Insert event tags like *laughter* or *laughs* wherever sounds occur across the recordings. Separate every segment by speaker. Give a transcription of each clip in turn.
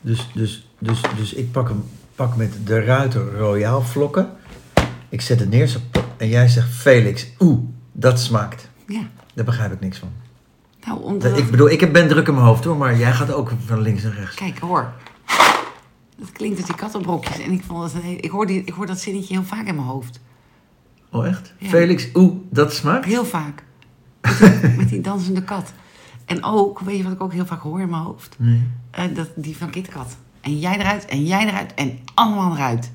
Speaker 1: Dus, dus, dus, dus ik pak, hem, pak met de ruiter royaal vlokken. Ik zet het neer zo, plop, en jij zegt Felix, oeh, dat smaakt.
Speaker 2: Ja.
Speaker 1: Daar begrijp ik niks van.
Speaker 2: Nou,
Speaker 1: Dat-
Speaker 2: omdat...
Speaker 1: ik bedoel, ik ben druk in mijn hoofd hoor, maar jij gaat ook van links en rechts.
Speaker 2: Kijk, hoor. Dat klinkt uit die kattenbrokjes. En ik, vond dat een heel- ik, hoor die, ik hoor dat zinnetje heel vaak in mijn hoofd.
Speaker 1: Oh echt?
Speaker 2: Ja.
Speaker 1: Felix, oeh, dat smaakt?
Speaker 2: Heel vaak. Met
Speaker 1: *laughs*
Speaker 2: die- Met die dansende kat. En ook, weet je wat ik ook heel vaak hoor in mijn hoofd?
Speaker 1: Nee.
Speaker 2: Eh, dat, die van KitKat. En jij eruit, en jij eruit, en allemaal eruit.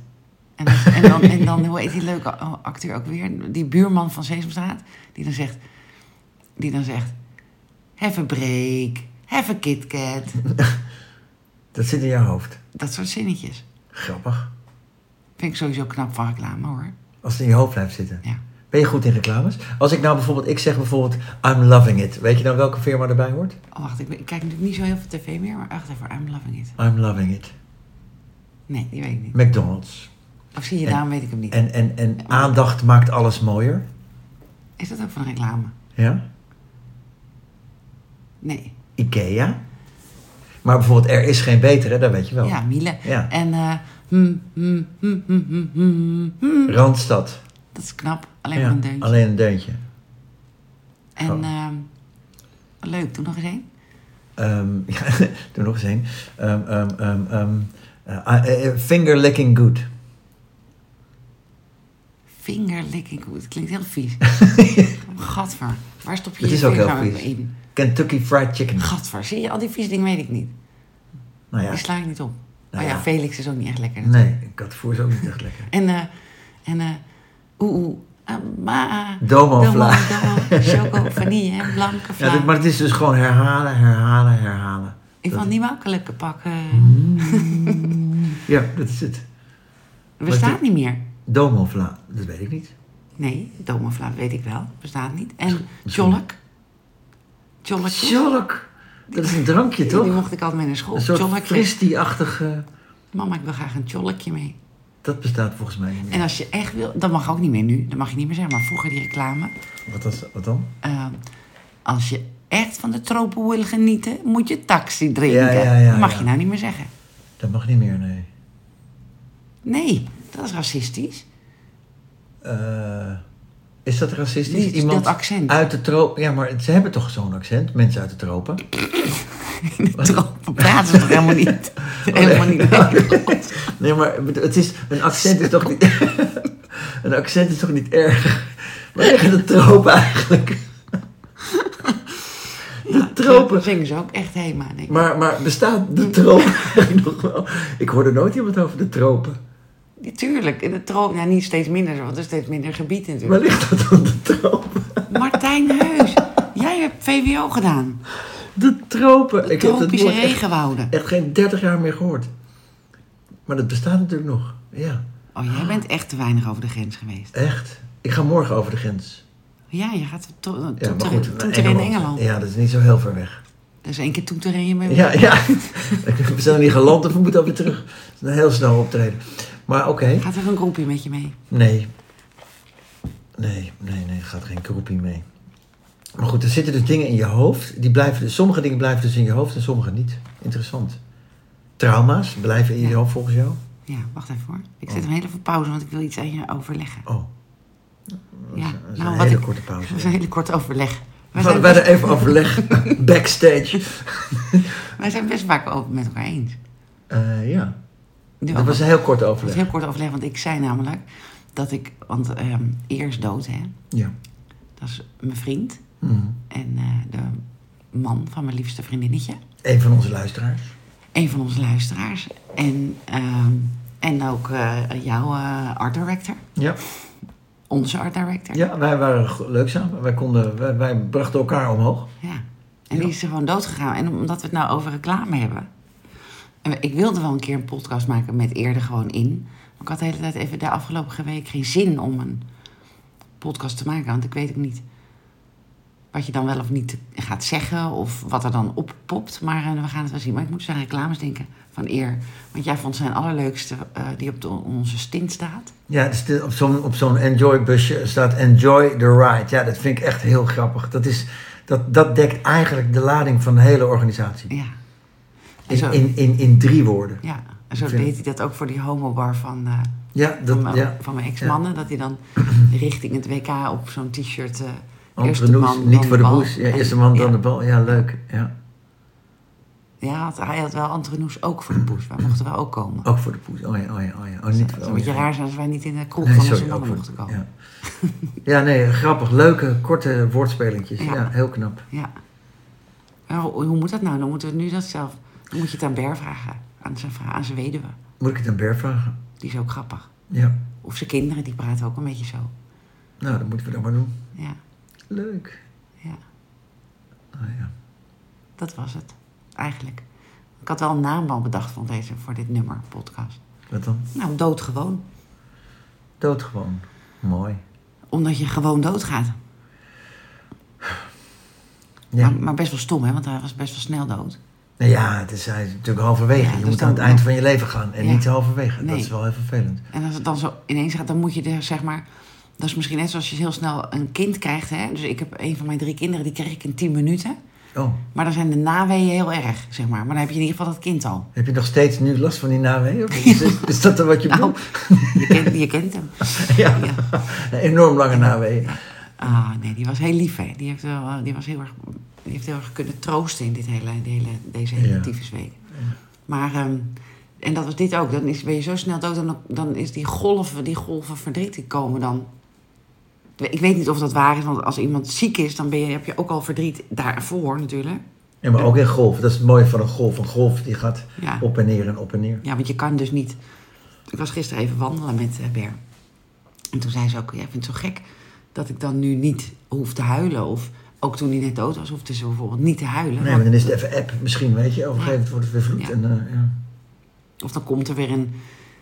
Speaker 2: En, dan- en, dan, en dan, hoe heet die leuke a- oh, acteur ook weer? Die buurman van Sesamstraat. Die dan zegt, die dan zegt... Have a break, have a KitKat.
Speaker 1: Dat zit in jouw hoofd.
Speaker 2: Dat soort zinnetjes.
Speaker 1: Grappig.
Speaker 2: Vind ik sowieso knap van reclame, hoor.
Speaker 1: Als het in je hoofd blijft zitten.
Speaker 2: Ja.
Speaker 1: Ben je goed in reclames? Als ik nou bijvoorbeeld, ik zeg bijvoorbeeld, I'm loving it. Weet je dan welke firma erbij hoort?
Speaker 2: Oh, wacht, ik, ben- ik kijk natuurlijk niet zo heel veel tv meer, maar echt even, I'm loving it.
Speaker 1: I'm loving it.
Speaker 2: Nee, die weet ik niet.
Speaker 1: McDonald's.
Speaker 2: Of zie je, daarom weet ik hem niet.
Speaker 1: En, en, en aandacht maakt alles mooier.
Speaker 2: Is dat ook van reclame?
Speaker 1: Ja?
Speaker 2: Nee.
Speaker 1: Ikea. Maar bijvoorbeeld, er is geen betere, dat weet je wel.
Speaker 2: Ja, Miele.
Speaker 1: Oh. Ja.
Speaker 2: En eh, hmm, hmm, hmm, hmm, hmm, hmm, hmm.
Speaker 1: Randstad.
Speaker 2: dat is knap. Alleen maar
Speaker 1: Ja,
Speaker 2: een deuntje.
Speaker 1: alleen oh. een deuntje.
Speaker 2: En ehm, leuk, doe nog eens één.
Speaker 1: Ehm, *laughs* ja, doe nog eens één. Ehm, ehm, ehm, ehm, eh, eh, eh, finger licking good.
Speaker 2: Fingerlicking. Oeh, Het klinkt heel
Speaker 1: *laughs*
Speaker 2: vies. Gadver. Waar stop je
Speaker 1: Het
Speaker 2: je
Speaker 1: is ook heel
Speaker 2: vinger
Speaker 1: vies.
Speaker 2: in?
Speaker 1: Kentucky Fried Chicken.
Speaker 2: Gadver. Zie je, al die vieze dingen weet ik niet.
Speaker 1: Nou ja,
Speaker 2: Die sla ik niet op. Maar
Speaker 1: Nou
Speaker 2: ja,
Speaker 1: ja.
Speaker 2: Felix is ook niet echt lekker.
Speaker 1: nee, kattenvoer is ook niet echt lekker.
Speaker 2: En, eh, en eh, oeh, oeh, ah, ma.
Speaker 1: Domo vla.
Speaker 2: domo,
Speaker 1: *laughs*
Speaker 2: choco, vanille, hè, blanke vla.
Speaker 1: Ja, dit- maar het is dus gewoon herhalen, herhalen, herhalen.
Speaker 2: Ik vond die makkelijke pakken.
Speaker 1: Mhm. Ja, dat is het.
Speaker 2: Bestaat niet meer.
Speaker 1: Domovla, dat weet ik niet.
Speaker 2: Nee, domovla weet ik wel. Bestaat niet. En tjolk. Tjolk.
Speaker 1: Tjolk! Dat is een drankje,
Speaker 2: Die
Speaker 1: toch?
Speaker 2: mocht ik altijd mee naar school.
Speaker 1: Een soort
Speaker 2: Tjolkje.
Speaker 1: fristie-achtige...
Speaker 2: Mama, ik wil graag een tjolkje mee.
Speaker 1: Dat bestaat volgens mij niet
Speaker 2: En
Speaker 1: meer.
Speaker 2: als je echt wil, dat mag ook niet meer nu. Dat mag je niet meer zeggen. Maar vroeger die reclame.
Speaker 1: Wat, was- wat dan?
Speaker 2: eh, als je echt van de tropen wil genieten, moet je taxi drinken.
Speaker 1: Ja, ja, ja,
Speaker 2: dat mag
Speaker 1: ja.
Speaker 2: je nou niet meer zeggen.
Speaker 1: Dat mag niet meer, nee.
Speaker 2: Nee, dat is
Speaker 1: *laughs*
Speaker 2: racistisch.
Speaker 1: Eh, is dat racistisch?
Speaker 2: Die- dat accent.
Speaker 1: uit de tropen... Ja, maar ze hebben toch zo'n accent, mensen uit de tropen?
Speaker 2: In de tropen praten ze toch helemaal
Speaker 1: *laughs*
Speaker 2: niet.
Speaker 1: Oh,
Speaker 2: Helemaal niet. Nederlands.
Speaker 1: Nee, maar ik bedoel, het is, een accent is toch niet... *laughs* een accent is toch niet erg? Waar liggen de tropen eigenlijk? De *laughs* tropen.
Speaker 2: Dat zingen ze ook echt helemaal. Denk ik.
Speaker 1: Maar, maar bestaat de tropen eigenlijk nog wel? Ik hoorde nooit iemand over de tropen.
Speaker 2: Ja, Tuurlijk, in de troop, nou niet steeds minder, want er is steeds minder gebied
Speaker 1: Waar *laughs*
Speaker 2: natuurlijk.
Speaker 1: ligt dat dan, de tropen?
Speaker 2: Martijn Heus, jij hebt VWO gedaan.
Speaker 1: De tropen. ik heb dat
Speaker 2: Tropische
Speaker 1: woord echt,
Speaker 2: regenwouden.
Speaker 1: echt geen 30 jaar meer gehoord. Maar dat bestaat natuurlijk nog. Ja,
Speaker 2: Oh, jij bent echt te weinig over de grens geweest.
Speaker 1: echt. Ik ga morgen over de grens.
Speaker 2: Ja, je gaat to-
Speaker 1: Ja,
Speaker 2: toeteren
Speaker 1: maar goed, naar
Speaker 2: toeteren in Engeland.
Speaker 1: Ja, dat is niet zo heel ver weg.
Speaker 2: Dus één keer toeteren en je bent
Speaker 1: Ja, ja. *laughs* We zijn er niet geland of we moeten alweer terug. Het is een heel snel optreden. Maar oké.
Speaker 2: Gaat er een groepje met je mee?
Speaker 1: Nee. Nee, nee, nee. Er gaat geen kroepie mee. Maar goed, er zitten dus dingen in je hoofd. Die blijven, dus- sommige dingen blijven dus in je hoofd en sommige niet. Interessant. Trauma's blijven in je
Speaker 2: Ja.
Speaker 1: hoofd volgens jou?
Speaker 2: Ja, wacht even hoor. Ik zet hem heel even pauze, want ik wil iets aan je overleggen.
Speaker 1: Oh,
Speaker 2: Ja, nou,
Speaker 1: dat is een hele korte pauze.
Speaker 2: Dat is een hele korte overleg. Wij
Speaker 1: we
Speaker 2: zijn,
Speaker 1: hadden
Speaker 2: best,
Speaker 1: er even overleg
Speaker 2: *laughs*
Speaker 1: backstage.
Speaker 2: wij zijn best vaak over, met elkaar eens.
Speaker 1: Eh, ja,
Speaker 2: Nu
Speaker 1: dat
Speaker 2: ook.
Speaker 1: was een heel kort
Speaker 2: Dat
Speaker 1: overleg.
Speaker 2: is heel kort overleg, want ik zei namelijk dat ik, want ehm eerst dood, hè?
Speaker 1: Ja.
Speaker 2: Dat is mijn vriend
Speaker 1: Mhm.
Speaker 2: en eh, de man van mijn liefste vriendinnetje.
Speaker 1: Een van onze luisteraars.
Speaker 2: Een van onze luisteraars. En, ehm, en ook eh, jouw eh, art director.
Speaker 1: Ja.
Speaker 2: Onze art director.
Speaker 1: Ja, wij waren go- leuk samen. Wij, konden, wij, wij brachten elkaar omhoog.
Speaker 2: Ja. En die is er gewoon dood gegaan. En omdat we het nou over reclame hebben. En Ik wilde wel een keer een podcast maken met eerder gewoon in. Maar ik had de hele tijd even de afgelopen week geen zin om een podcast te maken. Want ik weet ook niet wat je dan wel of niet gaat zeggen. Of wat er dan oppopt. Maar eh, we gaan het wel zien. Maar ik moet dus aan reclames denken van eer. Want jij vond zijn allerleukste eh, die op de- onze stint staat.
Speaker 1: Ja, dus dit- op zo'n, op zo'n Enjoy-busje staat Enjoy the Ride. Ja, dat vind ik echt heel grappig. Dat, is, dat, dat dekt eigenlijk de lading van de hele organisatie.
Speaker 2: Ja. En zo,
Speaker 1: In, in, in, in drie woorden.
Speaker 2: ja. en zo
Speaker 1: ik vind-
Speaker 2: deed hij dat ook voor die homobar van, eh,
Speaker 1: Ja,
Speaker 2: van,
Speaker 1: dat,
Speaker 2: mijn-
Speaker 1: ja.
Speaker 2: van mijn ex-mannen. Dat hij dan richting het WK op zo'n t-shirt... eh eerste
Speaker 1: Entrepreneurs,
Speaker 2: man, dan
Speaker 1: niet voor de
Speaker 2: bal.
Speaker 1: boes. Ja,
Speaker 2: En-
Speaker 1: eerste man, dan
Speaker 2: ja.
Speaker 1: de bal. Ja, leuk. Ja.
Speaker 2: Ja, hij had- hij had wel Antrenoes ook voor de
Speaker 1: *clears throat*
Speaker 2: poes. Wij mochten wel ook komen.
Speaker 1: Ook voor de poes. Oh ja, oh ja, oh ja. Oh, niet
Speaker 2: Het
Speaker 1: voor,
Speaker 2: zou
Speaker 1: oh,
Speaker 2: een beetje
Speaker 1: ja.
Speaker 2: raar zijn als wij niet in de kroeg
Speaker 1: Nee,
Speaker 2: van
Speaker 1: sorry,
Speaker 2: onze
Speaker 1: ook
Speaker 2: mannen
Speaker 1: voor-
Speaker 2: mochten komen.
Speaker 1: Ja. ja, nee, grappig. Leuke, korte woordspelentjes. Ja,
Speaker 2: Ja.
Speaker 1: heel knap.
Speaker 2: Ja. Maar hoe, hoe moet dat nou? Dan moeten we nu dat zelf... Dan moet je het aan Ber vragen. Aan zijn, vrouw- aan zijn weduwe.
Speaker 1: Moet ik het aan Ber vragen?
Speaker 2: Die is ook grappig.
Speaker 1: Ja.
Speaker 2: Of zijn kinderen, die praten ook een beetje zo.
Speaker 1: Nou, dat moeten we dan maar doen.
Speaker 2: Ja,
Speaker 1: Leuk.
Speaker 2: ja.
Speaker 1: Oh, ja.
Speaker 2: Dat was het. Eigenlijk. Ik had wel een naam al bedacht van deze, voor dit nummer, podcast.
Speaker 1: Wat dan?
Speaker 2: Nou, doodgewoon.
Speaker 1: Doodgewoon. Mooi.
Speaker 2: Omdat je gewoon doodgaat.
Speaker 1: Ja.
Speaker 2: Maar, maar best wel stom, hè? Want hij was best wel snel dood.
Speaker 1: Nou ja, het is, hij is natuurlijk halverwege.
Speaker 2: Ja,
Speaker 1: je
Speaker 2: dus
Speaker 1: moet
Speaker 2: dan-
Speaker 1: aan het eind van je leven gaan en
Speaker 2: Ja.
Speaker 1: niet halverwege.
Speaker 2: Nee.
Speaker 1: Dat is wel heel vervelend.
Speaker 2: En als het dan zo ineens gaat, dan moet je er zeg maar. Dat is misschien net zoals je heel snel een kind krijgt. Hè? Dus ik heb een van mijn drie kinderen, die kreeg ik in 10 minuten.
Speaker 1: Oh,
Speaker 2: Maar dan zijn de naweeën heel erg, zeg maar. Maar dan heb je in ieder geval dat kind al.
Speaker 1: heb je nog steeds nu last van die naweeën? Of Is, is, is dat dan wat je *laughs*
Speaker 2: Nou,
Speaker 1: bedoelt?
Speaker 2: je kent, je kent hem.
Speaker 1: Ja,
Speaker 2: ja.
Speaker 1: enorm lange naweeën.
Speaker 2: Ah, nee, die was heel lief, hè. Die heeft, wel, eh, die was heel erg, die heeft heel erg kunnen troosten in dit hele, die hele, deze hele
Speaker 1: Ja.
Speaker 2: tyfusweek. Maar, ehm, en dat was dit ook. Dan is, ben je zo snel dood, dan, dan is die golven, die golven verdriet, die komen dan... Ik weet niet of dat waar is, want als iemand ziek is, dan ben je, heb je ook al verdriet daarvoor natuurlijk.
Speaker 1: Ja, maar ook in golf. Dat is het mooie van een golf. Een golf die gaat
Speaker 2: Ja.
Speaker 1: op en neer en op en neer.
Speaker 2: Ja, want je kan dus niet. Ik was gisteren even wandelen met eh, Ber. En toen zei ze ook: Jij vindt het zo gek dat ik dan nu niet hoef te huilen. Of ook toen hij net dood was, hoefde ze bijvoorbeeld niet te
Speaker 1: Nee,
Speaker 2: huilen. Want-
Speaker 1: maar dan is het even app misschien, weet je. Op een gegeven moment wordt het weer vloed.
Speaker 2: Ja.
Speaker 1: En, eh, ja.
Speaker 2: Of dan komt er weer een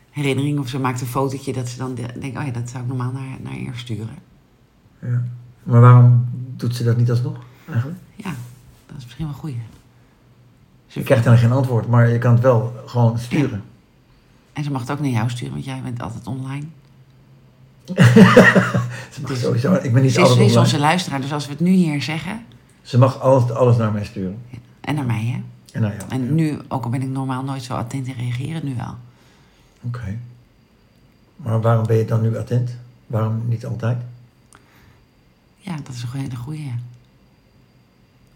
Speaker 2: herinnering of ze maakt een fotootje dat ze dan de- denkt: Oh ja, dat zou ik normaal naar, naar eer sturen.
Speaker 1: Ja. Maar waarom doet ze dat niet alsnog eigenlijk?
Speaker 2: Ja, dat is misschien wel een goeie.
Speaker 1: Je krijgt dan geen antwoord, maar je kan het wel gewoon sturen.
Speaker 2: En ze mag het ook naar jou sturen, want jij bent altijd online.
Speaker 1: Ze mag sowieso, ik ben niet
Speaker 2: Ze is,
Speaker 1: altijd
Speaker 2: ze is
Speaker 1: online.
Speaker 2: onze luisteraar, dus als we het nu hier zeggen.
Speaker 1: Ze mag alles, alles naar mij sturen.
Speaker 2: ja, En naar mij, hè?
Speaker 1: En nou ja, oké.
Speaker 2: En nu, ook al ben ik normaal nooit zo attent in reageren, nu wel.
Speaker 1: Maar waarom ben je dan nu attent? Waarom niet altijd?
Speaker 2: Ja, dat is een hele goeie. ja.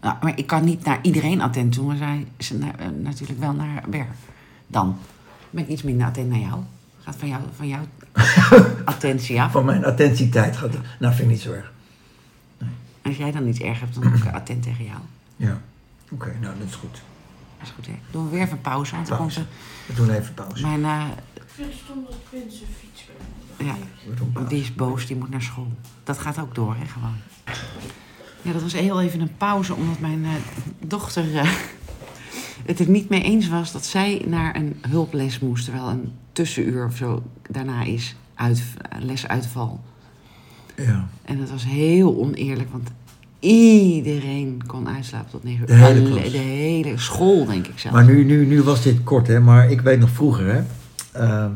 Speaker 2: Nou, maar ik kan niet naar iedereen attent doen, maar zij is na- eh, natuurlijk wel naar Ber. Dan ben ik iets minder attent naar jou. Gaat van jou, van jou attentie af.
Speaker 1: Van mijn attentietijd gaat het. Nou, vind ik niet zo erg.
Speaker 2: Als jij dan iets erg hebt, dan ben ik attent tegen jou.
Speaker 1: Ja. Oké, nou, dat is goed.
Speaker 2: Dat is goed, hè? Doen we weer even pauze, want dan komt
Speaker 1: Pauze. We
Speaker 2: er-
Speaker 1: doen even pauze.
Speaker 2: mijn... eh,
Speaker 3: Ik vind het stom dat Prins een fiets wil.
Speaker 2: ja,
Speaker 1: We doen
Speaker 2: want
Speaker 1: pauze.
Speaker 2: die is boos, die moet naar school. Dat gaat ook door, hè, gewoon. Ja, dat was heel even een pauze, omdat mijn eh, dochter eh, *laughs* het er niet mee eens was dat zij naar een hulples moest, terwijl een tussenuur of zo daarna is uit, lesuitval.
Speaker 1: Ja.
Speaker 2: En dat was heel oneerlijk, want iedereen kon uitslapen tot negen uur.
Speaker 1: De hele
Speaker 2: Alle-
Speaker 1: klas.
Speaker 2: de hele school, denk ik zelf.
Speaker 1: Maar nu, nu, nu was dit kort, hè? Maar ik weet nog vroeger, hè? ehm,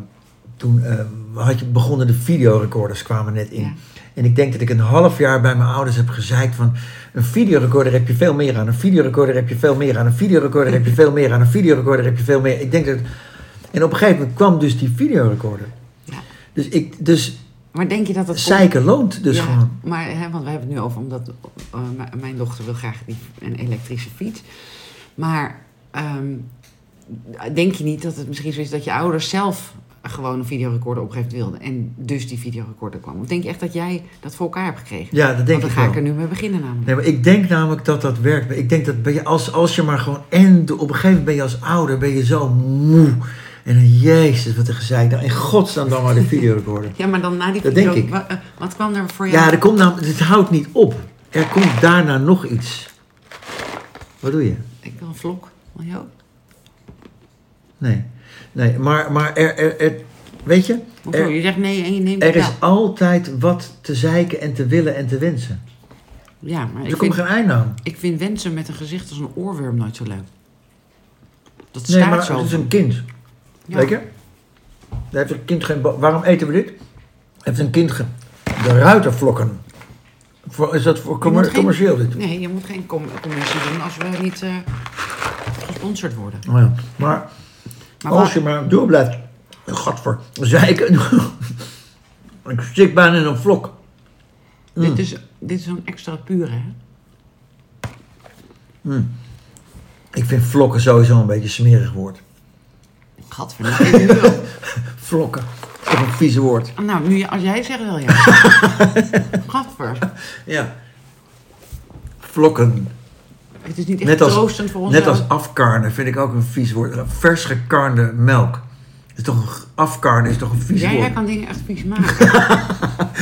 Speaker 1: toen eh, had je, begonnen de videorecorders kwamen net in.
Speaker 2: Ja.
Speaker 1: En ik denk dat ik een half jaar bij mijn ouders heb gezeikt van... een videorecorder heb je veel meer aan, een videorecorder heb je veel meer aan... een videorecorder heb je veel meer aan, een videorecorder heb je veel meer... Ik denk dat... En op een gegeven moment kwam dus die videorecorder.
Speaker 2: Ja.
Speaker 1: Dus, ik, dus
Speaker 2: Maar denk je dat dat komt-
Speaker 1: zeiken loont dus
Speaker 2: ja,
Speaker 1: gewoon.
Speaker 2: Maar, hè, want we hebben het nu over, omdat eh, m- mijn dochter wil graag die, een elektrische fiets. Maar ehm, denk je niet dat het misschien zo is dat je ouders zelf gewoon een videorecorder op een gegeven moment wilden. En dus die videorecorder kwam. Of denk je echt dat jij dat voor elkaar hebt gekregen?
Speaker 1: Ja, dat denk
Speaker 2: want
Speaker 1: ik
Speaker 2: dan ga
Speaker 1: wel.
Speaker 2: ik er nu mee beginnen namelijk.
Speaker 1: Nee, maar ik denk namelijk dat dat werkt. Ik denk dat ben je als, als je maar gewoon... En de- op een gegeven moment ben je als ouder ben je zo moe. En dan, jezus, wat een gezeik. Nou, in godsnaam dan maar de videorecorder.
Speaker 2: Ja, maar dan na die
Speaker 1: Dat
Speaker 2: video...
Speaker 1: denk ik.
Speaker 2: wa- eh, Wat kwam er voor jou?
Speaker 1: Ja, er komt nou, het houdt niet op. Er komt daarna nog iets. Wat doe je?
Speaker 2: Ik wil een vlog. Wil je ook?
Speaker 1: Nee. Nee, maar, maar er, er, er- weet je?
Speaker 2: Hoezo?
Speaker 1: Er,
Speaker 2: je zegt nee en je neemt
Speaker 1: er
Speaker 2: het
Speaker 1: is
Speaker 2: wel.
Speaker 1: altijd wat te zeiken en te willen en te wensen.
Speaker 2: Ja, maar
Speaker 1: Er
Speaker 2: ik
Speaker 1: komt
Speaker 2: vind,
Speaker 1: geen einde aan.
Speaker 2: ik vind wensen met een gezicht als een oorworm nooit zo leuk. Dat
Speaker 1: Nee,
Speaker 2: staat
Speaker 1: maar
Speaker 2: zo.
Speaker 1: het is een kind.
Speaker 2: Ja.
Speaker 1: Weet je? Daar heeft een kind geen. bo- Waarom eten we dit? Heeft een kind ge... de ruitervlokken. Voor, is dat voor commer-
Speaker 2: moet geen-
Speaker 1: commercieel dit?
Speaker 2: Nee, je moet geen com commissie doen als we niet eh, gesponsord worden.
Speaker 1: Oh ja. Maar,
Speaker 2: Maar
Speaker 1: als
Speaker 2: waar-
Speaker 1: je maar door blijft... Gadver, zeiken. *laughs* ik stik bijna in een vlok. Mm.
Speaker 2: Dit is, dit is zo'n extra pure, hè?
Speaker 1: Ik vind vlokken sowieso een beetje een smerig woord.
Speaker 2: Gadverdamme. nu
Speaker 1: *laughs*
Speaker 2: al.
Speaker 1: Vlokken. Dat is een vieze woord.
Speaker 2: nou, nu, als jij zegt
Speaker 1: *laughs*
Speaker 2: wel ja. Gadver.
Speaker 1: Ja. Vlokken.
Speaker 2: Het is niet echt
Speaker 1: Net als,
Speaker 2: troostend voor ons.
Speaker 1: net als afkarnen vind ik ook een vies woord. Vers gekarnde melk. Is toch een, afkarnen is toch een vies
Speaker 2: Jij, jij
Speaker 1: woord?
Speaker 2: kan dingen echt vies maken.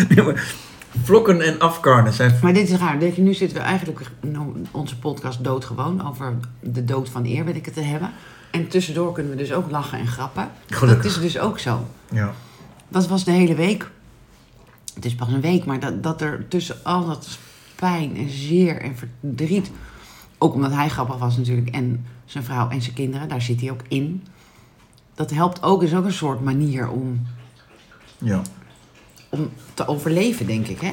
Speaker 1: *laughs* Nee, maar vlokken en afkarnen zijn...
Speaker 2: maar dit is raar. Weet je, nu zitten we eigenlijk nou, onze podcast doodgewoon over de dood van eerwerken te hebben. En tussendoor kunnen we dus ook lachen en grappen.
Speaker 1: Gelukkig.
Speaker 2: Dat is dus ook zo.
Speaker 1: Ja.
Speaker 2: Dat was de hele week. Het is pas een week, maar dat, dat er tussen al dat pijn en zeer en verdriet. Ook omdat hij grappig was natuurlijk. En zijn vrouw en zijn kinderen, daar zit hij ook in. Dat helpt ook, is ook een soort manier om,
Speaker 1: ja.
Speaker 2: om te overleven, denk ik. Hè?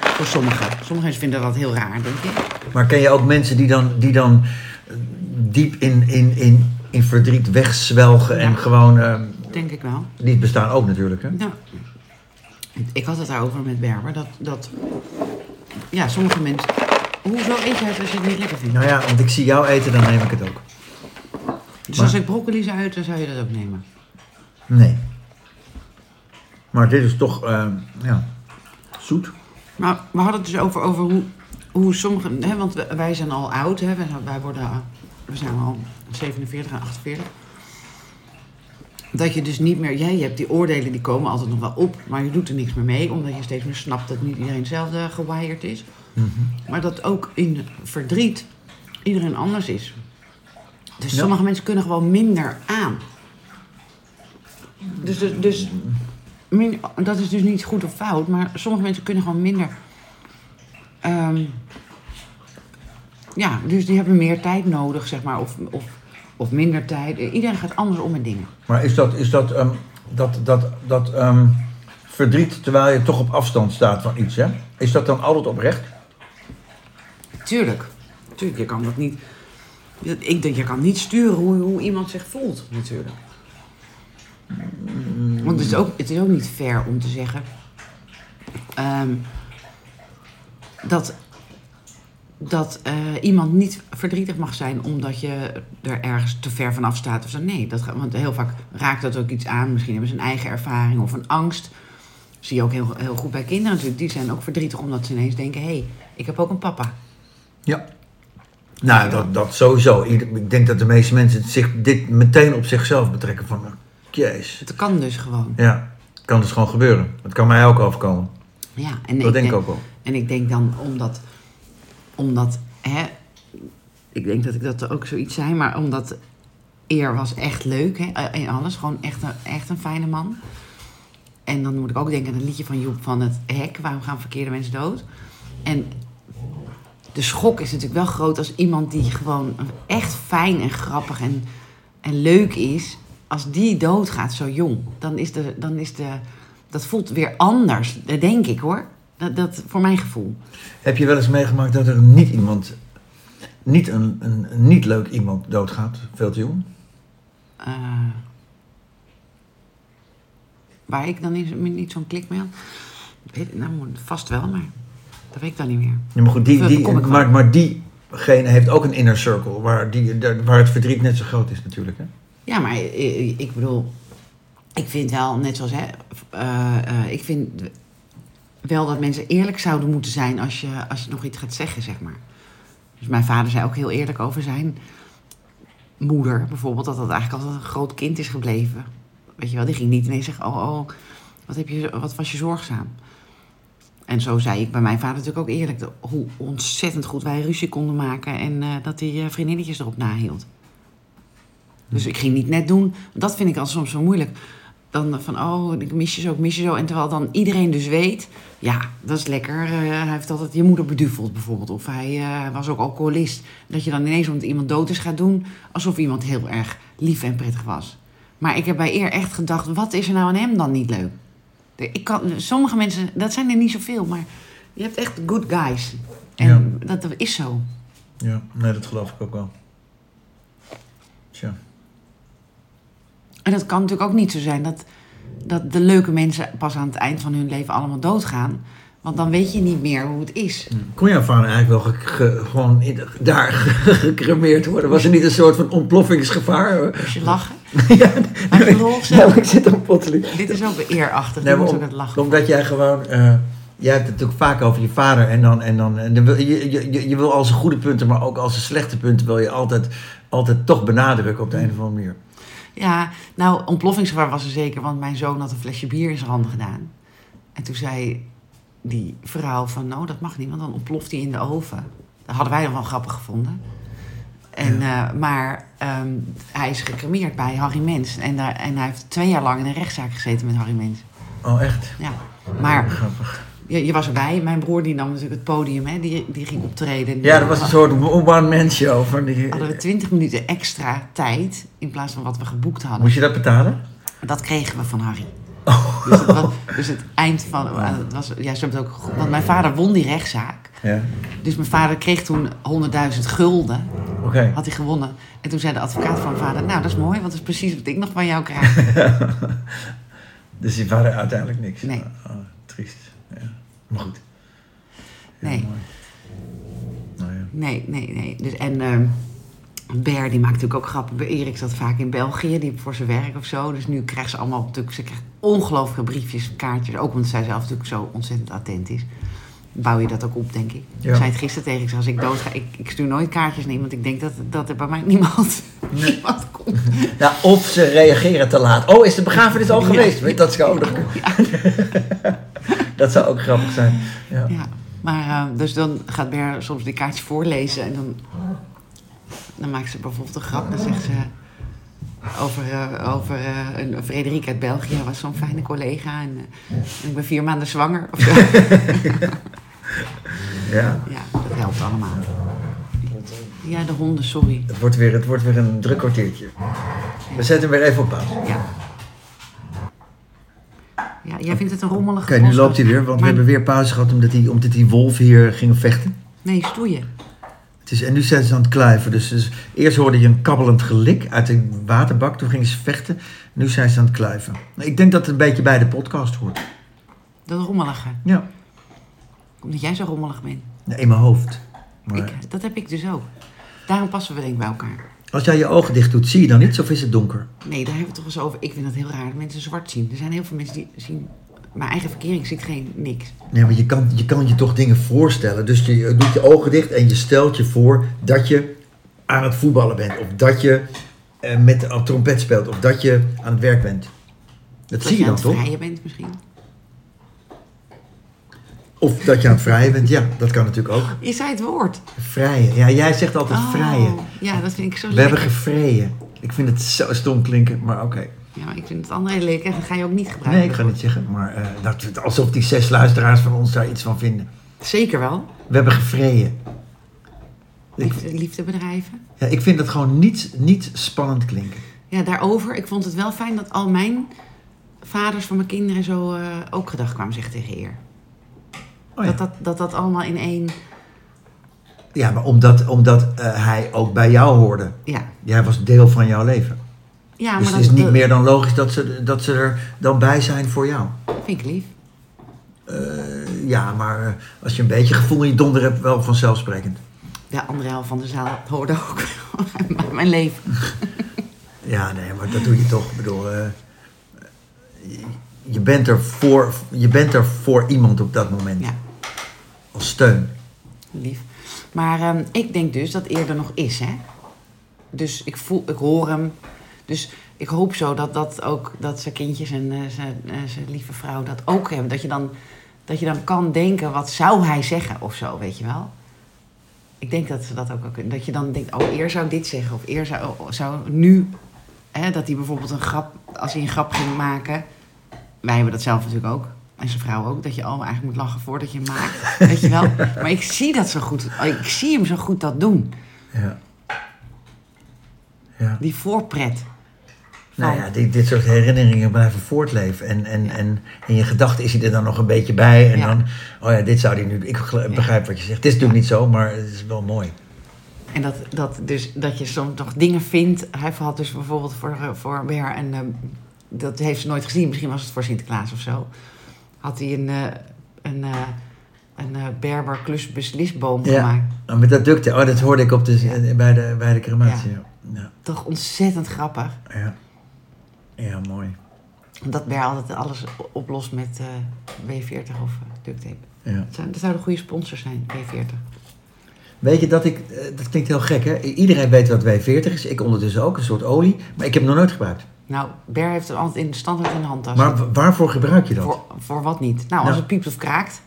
Speaker 2: Voor sommigen. Sommigen vinden dat heel raar, denk ik.
Speaker 1: Maar ken je ook mensen die dan, die dan eh, diep in, in, in, in verdriet wegzwelgen en
Speaker 2: Ja.
Speaker 1: gewoon... ehm,
Speaker 2: Denk ik wel.
Speaker 1: die bestaan ook natuurlijk, hè?
Speaker 2: Ja. Ik had het daarover met Berber. Dat, dat, ja, sommige mensen... Hoezo eet jij het als je het niet lekker vindt?
Speaker 1: Nou ja, want ik zie jou eten, dan neem ik het ook.
Speaker 2: Dus
Speaker 1: maar-
Speaker 2: als ik broccoli zou uit, dan zou je dat ook nemen.
Speaker 1: Nee. Maar dit is toch, ehm, ja, zoet.
Speaker 2: Maar we hadden het dus over, over hoe, hoe sommigen... Hè, want we- wij zijn al oud, hè, wij, zijn- wij worden, eh, we zijn al 47 en 48. Dat je dus niet meer... Jij je hebt die oordelen, die komen altijd nog wel op. Maar je doet er niks meer mee, omdat je steeds meer snapt... dat niet iedereen hetzelfde gewired is. Maar dat ook in verdriet iedereen anders is. Dus
Speaker 1: Ja.
Speaker 2: sommige mensen kunnen gewoon minder aan. Dus, dus, dus min- dat is dus niet goed of fout, maar sommige mensen kunnen gewoon minder. ehm, ja, dus die hebben meer tijd nodig, zeg maar, of, of, of minder tijd. Iedereen gaat anders om met dingen.
Speaker 1: Maar is dat, is dat, ehm, dat, dat, dat ehm, verdriet terwijl je toch op afstand staat van iets, hè? Is dat dan altijd oprecht?
Speaker 2: Tuurlijk, tuurlijk, je kan dat niet. Ik denk, je kan niet sturen hoe, hoe iemand zich voelt, natuurlijk. Want het is ook, het is ook niet fair om te zeggen ehm, dat, dat eh, iemand niet verdrietig mag zijn omdat je er ergens te ver vanaf staat of zo. Nee, dat, gaat- want heel vaak raakt dat ook iets aan. Misschien hebben ze een eigen ervaring of een angst. Zie je ook heel, heel goed bij kinderen natuurlijk. Die zijn ook verdrietig omdat ze ineens denken: hé, hey, ik heb ook een papa.
Speaker 1: Ja. Nou, dat, dat sowieso. Ieder- Ik denk dat de meeste mensen het zich, dit meteen op zichzelf betrekken. Van, jeez.
Speaker 2: Het kan dus gewoon.
Speaker 1: Ja, kan dus gewoon gebeuren. Het kan mij ook overkomen.
Speaker 2: Ja, en
Speaker 1: Dat denk ik ook wel.
Speaker 2: En ik denk dan omdat, omdat hè, ik denk dat ik dat ook zoiets zei, maar omdat Eer was echt leuk hè, eh, in alles, gewoon echt een, echt een fijne man. En dan moet ik ook denken aan het liedje van Joep van het Hek, waarom gaan verkeerde mensen dood? En de schok is natuurlijk wel groot als iemand die gewoon echt fijn en grappig en, en leuk is, als die doodgaat zo jong, dan is de, dan is de, dat voelt weer anders, dat denk ik hoor. Dat, dat voor mijn gevoel.
Speaker 1: Heb je wel eens meegemaakt dat er niet iemand, niet een, een, een niet leuk iemand doodgaat? Veel te jong?
Speaker 2: eh, waar ik dan niet, niet zo'n klik mee had. Weet, nou, vast wel, maar dat weet ik dan niet meer.
Speaker 1: Ja, maar goed, die,
Speaker 2: Daar
Speaker 1: die,
Speaker 2: kom ik van.
Speaker 1: maar, maar diegene heeft ook een inner circle waar, die, daar- waar het verdriet net zo groot is natuurlijk. Hè?
Speaker 2: Ja, maar i- i- ik bedoel, ik vind wel, net zoals hè, eh, eh, ik vind wel dat mensen eerlijk zouden moeten zijn als je, als je nog iets gaat zeggen, zeg maar. Dus mijn vader zei ook heel eerlijk over zijn moeder, bijvoorbeeld, dat dat eigenlijk altijd een groot kind is gebleven. Weet je wel, die ging niet ineens zeggen, oh, oh wat, heb je, wat was je zorgzaam? En zo zei ik bij mijn vader natuurlijk ook eerlijk de- hoe ontzettend goed wij ruzie konden maken en eh, dat hij eh, vriendinnetjes erop nahield. Dus ik ging niet net doen. Dat vind ik al soms zo moeilijk. Dan van, oh, ik mis je zo, ik mis je zo. En terwijl dan iedereen dus weet, ja, dat is lekker. eh, hij heeft altijd je moeder beduveld bijvoorbeeld. Of hij eh, was ook alcoholist. Dat je dan ineens omdat iemand dood is gaat doen, alsof iemand heel erg lief en prettig was. Maar ik heb bij eer echt gedacht, wat is er nou aan hem dan niet leuk? De- Ik kan, sommige mensen, dat zijn er niet zoveel, maar je hebt echt good guys. En dat is zo.
Speaker 1: Ja, nee, dat geloof ik ook wel. Tja.
Speaker 2: En dat kan natuurlijk ook niet zo zijn dat, dat de leuke mensen pas aan het eind van hun leven allemaal doodgaan. Want dan weet je niet meer hoe het is.
Speaker 1: Kon jouw vader eigenlijk wel ge- ge- gewoon in, daar *laughs* ge- gecremeerd worden? Was er niet een soort van ontploffingsgevaar?
Speaker 2: Als je lachen.
Speaker 1: *laughs* ja,
Speaker 2: Maar geloof
Speaker 1: *laughs*
Speaker 2: ze-
Speaker 1: nou, ik zit dan plotseling.
Speaker 2: Dit is ook beeerachtig.
Speaker 1: Nee, maar
Speaker 2: Nee, moet
Speaker 1: om-
Speaker 2: ook het lachen.
Speaker 1: omdat jij gewoon. eh, jij hebt het natuurlijk vaak over je vader. En dan. En dan, en dan wil, je, je, je- je wil al zijn goede punten, maar ook al zijn slechte punten. wil je altijd, altijd toch benadrukken op de een of andere manier.
Speaker 2: Ja, nou, ontploffingsgevaar was er zeker, want mijn zoon had een flesje bier in zijn handen gedaan. En toen zei die vrouw van, nou, dat mag niet, want dan ontploft hij in de oven. Dat hadden wij dan wel grappig gevonden. En, eh, maar ehm, hij is gecremeerd bij Harry Mens. En, daar, en hij heeft twee jaar lang in een rechtszaak gezeten met Harry Mens.
Speaker 1: Oh, echt?
Speaker 2: Ja, maar
Speaker 1: Grappig.
Speaker 2: je, je was erbij. Mijn broer die nam natuurlijk het podium, hè. Die, die ging optreden.
Speaker 1: Ja, dat was een soort one-man show. Van die,
Speaker 2: Hadden we twintig minuten extra tijd in plaats van wat we geboekt hadden.
Speaker 1: moest je dat betalen?
Speaker 2: Dat kregen we van Harry. Dus, het was, dus het eind van. ah, Het was, ja, ze hebben het ook. goed- Want mijn vader won die rechtszaak.
Speaker 1: *laughs* Ja.
Speaker 2: Dus mijn vader kreeg toen 100.000 gulden.
Speaker 1: Oké.
Speaker 2: Had hij gewonnen. En toen zei de advocaat van mijn vader: Nou, dat is mooi, want dat is precies wat ik nog van jou krijg.
Speaker 1: *laughs* Dus die waren uiteindelijk niks.
Speaker 2: Nee.
Speaker 1: Oh, triest. Ja. Maar goed. Heel
Speaker 2: Nee.
Speaker 1: mooi. Nou ja.
Speaker 2: Nee, nee, nee. Dus, en ehm Ber, die maakt natuurlijk ook grappen. Erik zat vaak in België, die voor zijn werk of zo. Dus nu krijgt ze allemaal natuurlijk... Ze krijgt ongelooflijke briefjes, kaartjes. Ook omdat zij zelf natuurlijk zo ontzettend attent is. Bouw je dat ook op, denk ik.
Speaker 1: Ja.
Speaker 2: Ik zei het gisteren tegen ik zei, als ik doodga... Ik, ik stuur nooit kaartjes naar iemand. Ik denk dat, dat er bij mij niemand, *laughs* niemand komt.
Speaker 1: Nou, of ze reageren te laat. Oh, is de begrafenis al
Speaker 2: Ja.
Speaker 1: geweest? Weet, Dat zou ook nog... Dat zou ook grappig zijn. Ja.
Speaker 2: Ja, maar eh, dus dan gaat Ber soms die kaartjes voorlezen en dan, dan maakt ze bijvoorbeeld een grap. Dan zegt ze over, eh, over eh, een Frederik uit België, was zo'n fijne collega en, eh, en ik ben vier maanden zwanger. Of zo.
Speaker 1: ja.
Speaker 2: ja, dat helpt allemaal. Ja, de honden, sorry.
Speaker 1: Het, wordt weer, het wordt weer een druk kwartiertje. We zetten hem weer even op pauze. Oké,
Speaker 2: Ja. Ja, jij vindt het een rommelige
Speaker 1: nu
Speaker 2: podcast.
Speaker 1: loopt hij weer, want we
Speaker 2: Maar-
Speaker 1: hebben weer pauze gehad omdat die, omdat die wolf hier ging vechten.
Speaker 2: Nee, stoeien.
Speaker 1: Het is, en nu zijn ze aan het kluiven. Dus, dus eerst hoorde je een kabbelend gelik uit de waterbak. Toen gingen ze vechten. Nu zijn ze aan het kluiven. Ik denk dat het een beetje bij de podcast hoort.
Speaker 2: Dat rommelige.
Speaker 1: Ja,
Speaker 2: Omdat jij zo rommelig bent.
Speaker 1: Nou, in mijn hoofd. Maar
Speaker 2: Ik, dat heb ik dus ook. Daarom passen we denk ik bij elkaar.
Speaker 1: als jij je ogen dicht doet, zie je dan iets of is het donker?
Speaker 2: Nee, daar hebben we het toch eens over. Ik vind dat heel raar dat mensen zwart zien. Er zijn heel veel mensen die zien. Mijn eigen verkering ziet geen niks.
Speaker 1: Nee, maar je kan, je kan je toch dingen voorstellen. Dus je doet je ogen dicht en je stelt je voor dat je aan het voetballen bent. Of dat je eh, met de trompet speelt. Of dat je aan het werk bent. Dat
Speaker 2: Dat
Speaker 1: zie je
Speaker 2: aan
Speaker 1: dan
Speaker 2: het
Speaker 1: toch?
Speaker 2: vrijen bent misschien.
Speaker 1: Of dat je aan het vrijen bent. Ja, dat kan natuurlijk ook.
Speaker 2: Je zei het woord.
Speaker 1: Vrijen. Ja, jij zegt altijd
Speaker 2: Oh,
Speaker 1: vrijen.
Speaker 2: Ja, dat vind ik zo
Speaker 1: We hebben
Speaker 2: lekker.
Speaker 1: gevreden. Ik vind het zo stom klinken, maar oké.
Speaker 2: Ja, maar ik vind het andere heel lekker. Dat ga je ook niet gebruiken.
Speaker 1: Nee, ik ga niet zeggen. Maar eh, dat, alsof die zes luisteraars van ons daar iets van vinden.
Speaker 2: Zeker wel.
Speaker 1: We hebben gevreden. Ik,
Speaker 2: Liefde, liefdebedrijven.
Speaker 1: ja, ik vind dat gewoon niet, niet spannend klinken.
Speaker 2: Ja, daarover. Ik vond het wel fijn dat al mijn vaders van mijn kinderen zo eh, ook gedacht kwamen zeggen tegen eer.
Speaker 1: Oh ja.
Speaker 2: dat, dat, dat dat allemaal in één...
Speaker 1: Ja, maar omdat, omdat eh, hij ook bij jou hoorde.
Speaker 2: Ja,
Speaker 1: Jij was deel van jouw leven.
Speaker 2: ja maar
Speaker 1: dus
Speaker 2: dat,
Speaker 1: het is niet
Speaker 2: dat
Speaker 1: meer dan logisch dat ze, dat ze er dan bij zijn voor jou.
Speaker 2: vind ik lief.
Speaker 1: Eh, ja, maar eh, als je een beetje gevoel in je donder hebt, wel vanzelfsprekend.
Speaker 2: De andere helft van de zaal hoorde ook *laughs* wel bij mijn leven.
Speaker 1: Ja, nee, maar dat doe je toch. Ik bedoel, eh, je- je, bent er voor, je bent er voor iemand op dat moment.
Speaker 2: Ja,
Speaker 1: Als steun.
Speaker 2: lief. Maar ehm, ik denk dus dat eerder nog is, hè? Dus ik voel, ik hoor hem. Dus ik hoop zo dat dat ook, dat zijn kindjes en eh, zijn, eh, zijn lieve vrouw dat ook hebben. Dat je, dan, dat je dan kan denken, wat zou hij zeggen of zo, weet je wel? Ik denk dat ze dat ook wel kunnen. Dat je dan denkt, oh, eer zou dit zeggen. Of eer zou, zou nu, hè, dat hij bijvoorbeeld een grap, als hij een grap ging maken. Wij hebben dat zelf natuurlijk ook. En zijn vrouw ook. Dat je al eigenlijk moet lachen voordat je hem maakt. *laughs* Weet je wel? Maar ik zie dat zo goed. Ik zie hem zo goed dat doen.
Speaker 1: Ja. Ja.
Speaker 2: Die voorpret.
Speaker 1: Nou
Speaker 2: Van-
Speaker 1: ja, dit, dit soort herinneringen blijven voortleven. En, en, en in je gedachten is hij er dan nog een beetje bij. En
Speaker 2: Ja.
Speaker 1: dan, oh ja, dit zou hij nu... Ik gel- begrijp wat je zegt. Het is natuurlijk niet zo, maar het is wel mooi.
Speaker 2: En dat, dat, dus, dat je soms nog dingen vindt. Hij had dus bijvoorbeeld voor, eh, voor Ber een. eh, dat heeft ze nooit gezien, misschien was het voor Sinterklaas of zo. Had hij een, eh, een, eh, een eh, Berber klusbeslisboom
Speaker 1: Ja.
Speaker 2: gemaakt.
Speaker 1: Oh, met dat ductje. Oh, dat hoorde ik op de, bij, de, bij de crematie. Ja. Ja.
Speaker 2: Toch ontzettend grappig.
Speaker 1: Ja. Ja, mooi.
Speaker 2: Omdat Ber altijd alles o- oplost met eh, W40 of eh, duct tape.
Speaker 1: Ja.
Speaker 2: Dat zou- dat zouden goede sponsors zijn, W40.
Speaker 1: Weet je dat ik, eh, dat klinkt heel gek hè, iedereen weet wat W40 is, ik ondertussen ook, een soort olie, maar ik heb het nog nooit gebruikt.
Speaker 2: Nou, Ber heeft het altijd in standaard in de handtas.
Speaker 1: Maar wa- waarvoor gebruik je dat?
Speaker 2: voor, voor wat niet? Nou, als
Speaker 1: Nou.
Speaker 2: het piept of kraakt.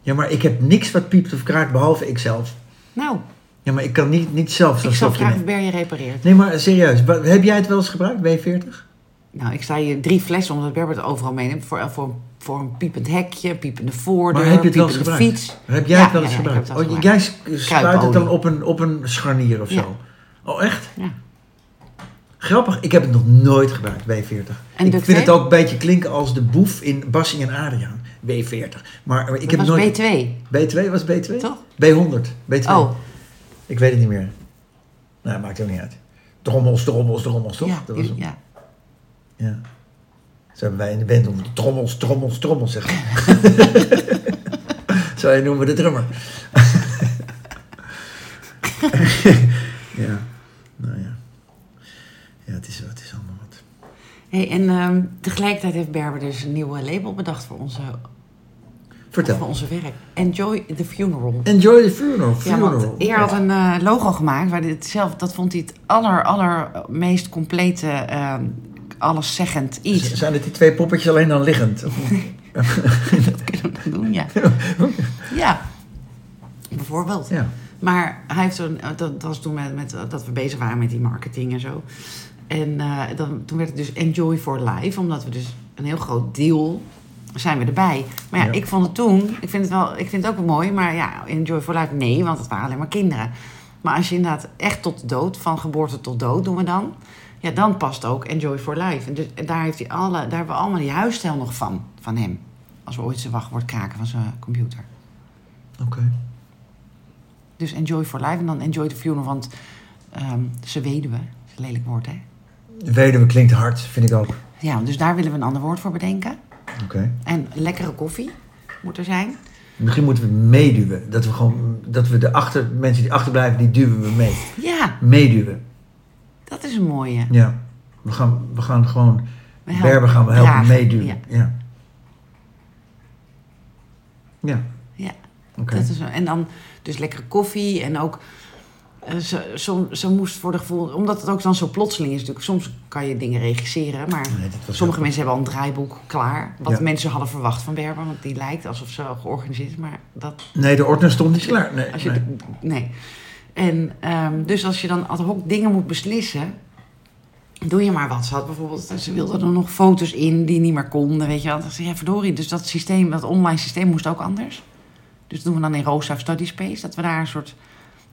Speaker 1: Ja, maar ik heb niks wat piept of kraakt behalve ikzelf.
Speaker 2: Nou,
Speaker 1: Ja, maar ik kan niet, niet zelf zo'n
Speaker 2: ik zal
Speaker 1: stofje
Speaker 2: vragen
Speaker 1: nemen.
Speaker 2: of Ber je repareert.
Speaker 1: Nee, maar serieus, wa- heb jij het wel eens gebruikt, W40?
Speaker 2: Nou, ik sta hier drie flessen omdat Ber het overal meeneemt. Voor, voor, voor een piepend hekje, een piepende voordeur,
Speaker 1: Maar heb je het wel eens
Speaker 2: piepende
Speaker 1: gebruikt?
Speaker 2: fiets.
Speaker 1: Maar heb jij
Speaker 2: Ja,
Speaker 1: het wel
Speaker 2: ja,
Speaker 1: eens
Speaker 2: ja, ik
Speaker 1: gebruikt?
Speaker 2: heb het wel
Speaker 1: oh,
Speaker 2: eens
Speaker 1: jij sk- spuit het
Speaker 2: Kruipolie.
Speaker 1: dan op een, op een scharnier of
Speaker 2: Ja.
Speaker 1: zo? Oh, echt?
Speaker 2: Ja.
Speaker 1: Grappig, ik heb het nog nooit gebruikt, W40.
Speaker 2: En
Speaker 1: ik
Speaker 2: duct
Speaker 1: vind het
Speaker 2: tape?
Speaker 1: ook een beetje klinken als de boef in Bassie en Adriaan, W40. Maar eh, ik
Speaker 2: Dat
Speaker 1: heb
Speaker 2: was
Speaker 1: nooit...
Speaker 2: B2,
Speaker 1: B2 was B2?
Speaker 2: toch?
Speaker 1: B100, B2.
Speaker 2: Oh,
Speaker 1: Ik weet het niet meer. Nou, maakt ook niet uit. Trommels, trommels, trommels, toch?
Speaker 2: ja,
Speaker 1: Dat was
Speaker 2: jullie-
Speaker 1: hem.
Speaker 2: ja.
Speaker 1: Ja. Zo hebben wij in de band om trommels, trommels, trommels zeggen. Zo noemen we de drummer. ja, nou ja. Ja, het is, het is allemaal wat.
Speaker 2: Hey, en ehm, tegelijkertijd heeft Berber dus een nieuwe label bedacht voor, onze, voor
Speaker 1: Vertel.
Speaker 2: onze werk. Enjoy the Funeral.
Speaker 1: Enjoy the funeral.
Speaker 2: Ja,
Speaker 1: funeral.
Speaker 2: want Eer had een eh, logo gemaakt. Waar dit zelf, dat vond hij het aller, aller meest complete, ehm, alleszeggend
Speaker 1: Z-
Speaker 2: iets.
Speaker 1: Zijn het die twee poppetjes alleen dan liggend? Of-
Speaker 2: Dat kunnen we dan doen, ja. Ja, bijvoorbeeld.
Speaker 1: ja.
Speaker 2: Maar hij heeft toen, dat, dat was toen met, met, dat we bezig waren met die marketing en zo. En eh, dan, toen werd het dus Enjoy for Life, omdat we dus een heel groot deel zijn we erbij. Maar ja,
Speaker 1: Ja.
Speaker 2: ik vond het toen, ik vind het, wel, ik vind het ook wel mooi, maar ja, Enjoy for Life, nee, want het waren alleen maar kinderen. Maar als je inderdaad echt tot de dood, van geboorte tot dood doen we dan, ja, dan past ook Enjoy for Life. En, dus, en daar, heeft hij alle, daar hebben we allemaal die huisstijl nog van, van hem. Als we ooit zijn wachtwoord kraken van zijn computer.
Speaker 1: Oké.
Speaker 2: Dus enjoy for life en dan enjoy the funeral, want ehm, ze weduwe. Dat is een lelijk woord, hè?
Speaker 1: Weduwe klinkt hard, vind ik ook. Oké.
Speaker 2: Ja, dus daar willen we een ander woord voor bedenken. En lekkere koffie moet er zijn.
Speaker 1: Misschien moeten we meeduwen. Dat we gewoon, dat we de achter, mensen die achterblijven, die duwen we mee.
Speaker 2: Ja,
Speaker 1: Meeduwen.
Speaker 2: dat is een mooie.
Speaker 1: Ja, we gaan, we gaan gewoon.
Speaker 2: We helpen,
Speaker 1: Berber gaan we helpen
Speaker 2: dragen,
Speaker 1: meeduwen. Ja.
Speaker 2: ja.
Speaker 1: Ja,
Speaker 2: Ja,
Speaker 1: oké.
Speaker 2: dat is een, en dan dus lekkere koffie en ook... eh, Ze, som- ze moest voor de gevoel, omdat het ook dan zo plotseling is natuurlijk. Soms kan je dingen regisseren, maar
Speaker 1: Nee, dit was
Speaker 2: sommige
Speaker 1: heel
Speaker 2: mensen hebben al een draaiboek klaar. Wat
Speaker 1: Ja.
Speaker 2: mensen hadden verwacht van Berber, want die lijkt alsof ze al georganiseerd is. Maar dat
Speaker 1: Nee, de ordner stond niet klaar. Nee,
Speaker 2: Als je
Speaker 1: nee.
Speaker 2: de- nee. En ehm, dus als je dan ad hoc dingen moet beslissen, doe je maar wat. Ze had bijvoorbeeld, ze wilde er nog foto's in die niet meer konden, weet je wel. Dan zei ja, verdorie, dus dat systeem, dat online systeem moest ook anders. Dus dat doen we dan in Rosa Study Space, dat we daar een soort,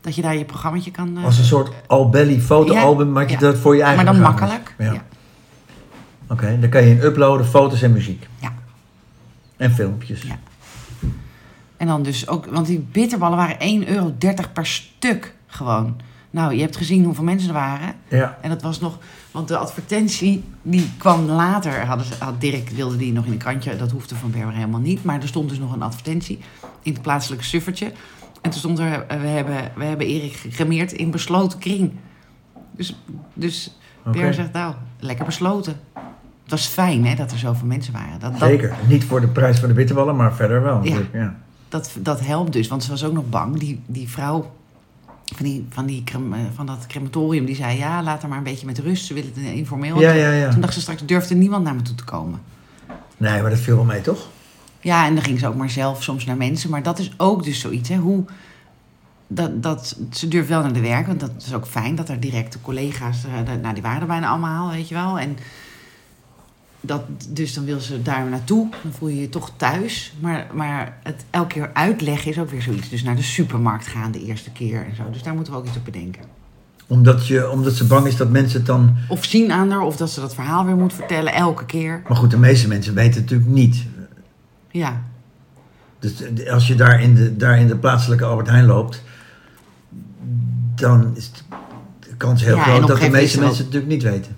Speaker 2: dat je daar je programmaatje kan... eh,
Speaker 1: Als een soort Albelly fotoalbum
Speaker 2: Ja,
Speaker 1: maak je
Speaker 2: ja.
Speaker 1: dat voor je eigen
Speaker 2: maar dan
Speaker 1: programma's.
Speaker 2: makkelijk.
Speaker 1: Ja.
Speaker 2: Ja. Ja.
Speaker 1: Oké, dan kan je in uploaden foto's en muziek.
Speaker 2: Ja.
Speaker 1: En filmpjes.
Speaker 2: Ja. En dan dus ook, want die bitterballen waren 1,30 euro per stuk gewoon. Nou, je hebt gezien hoeveel mensen er waren.
Speaker 1: Ja.
Speaker 2: En dat was nog, want de advertentie die kwam later. Hadden ze, had Dirk wilde die nog in een krantje. Dat hoefde van Berber helemaal niet. Maar er stond dus nog een advertentie in het plaatselijke suffertje. En toen stond er, eh, we hebben, we hebben Erik gecremeerd in besloten kring. Dus, dus
Speaker 1: Oké.
Speaker 2: Berber zegt, nou, lekker besloten. Het was fijn hè, dat er zoveel mensen waren. Dat, dat,
Speaker 1: Zeker. Niet voor de prijs van de bitterballen, maar verder wel.
Speaker 2: Ja.
Speaker 1: natuurlijk, ja.
Speaker 2: dat, dat helpt dus, want ze was ook nog bang. Die, die vrouw van, die, van, die, crem- eh, van dat crematorium, die zei... ja, laat haar maar een beetje met rust, ze willen het eh, informeel.
Speaker 1: Ja, ja, ja.
Speaker 2: Toen dacht ze straks, durfde niemand naar me toe te komen.
Speaker 1: Nee, maar dat viel wel mee, toch?
Speaker 2: Ja, en dan ging ze ook maar zelf soms naar mensen. Maar dat is ook dus zoiets, hè. Hoe, dat, dat, ze durft wel naar de werk, want dat is ook fijn... dat haar directe collega's, eh, dat- nou, die waren er bijna allemaal, weet je wel. En dat, dus dan wil ze daar naartoe, dan voel je je toch thuis. Maar, maar het elke keer uitleggen is ook weer zoiets. Dus naar de supermarkt gaan de eerste keer en zo. Dus daar moeten we ook iets op bedenken.
Speaker 1: Omdat, je, omdat ze bang is dat mensen het dan...
Speaker 2: Of zien aan haar, of dat ze dat verhaal weer moet vertellen, elke keer.
Speaker 1: Maar goed, de meeste mensen weten het natuurlijk niet.
Speaker 2: Ja,
Speaker 1: Dus als je daar in de, daar in de plaatselijke Albert Heijn loopt, dan is de kans heel
Speaker 2: Ja, en
Speaker 1: groot
Speaker 2: op
Speaker 1: dat de
Speaker 2: een gegeven
Speaker 1: meeste
Speaker 2: moment
Speaker 1: mensen het natuurlijk niet weten.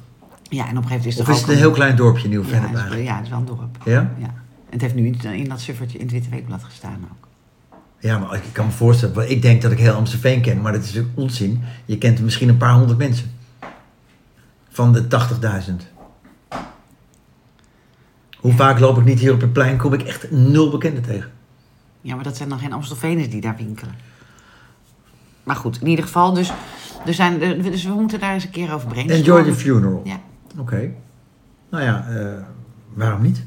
Speaker 2: Ja, en op een gegeven moment is er
Speaker 1: Of
Speaker 2: ook
Speaker 1: is het een heel klein dorpje, nieuw
Speaker 2: ja,
Speaker 1: vennep
Speaker 2: het is,
Speaker 1: eigenlijk?
Speaker 2: ja, het is wel een dorp.
Speaker 1: Ja?
Speaker 2: Ja. En het heeft nu in, in dat suffertje in het Witte Weekblad gestaan ook.
Speaker 1: Ja, maar ik kan me voorstellen, want ik denk dat ik heel Amstelveen ken, maar dat is natuurlijk onzin. Je kent misschien een paar honderd mensen. Van de 80.000. Hoe vaak loop ik niet hier op het plein, kom ik echt nul bekenden tegen.
Speaker 2: Ja, maar dat zijn dan geen Amstelveners die daar winkelen. Maar goed, in ieder geval, dus, er zijn, er- dus we moeten daar eens een keer over brengen.
Speaker 1: Enjoy the funeral.
Speaker 2: Ja,
Speaker 1: Oké. Nou ja, eh, waarom niet?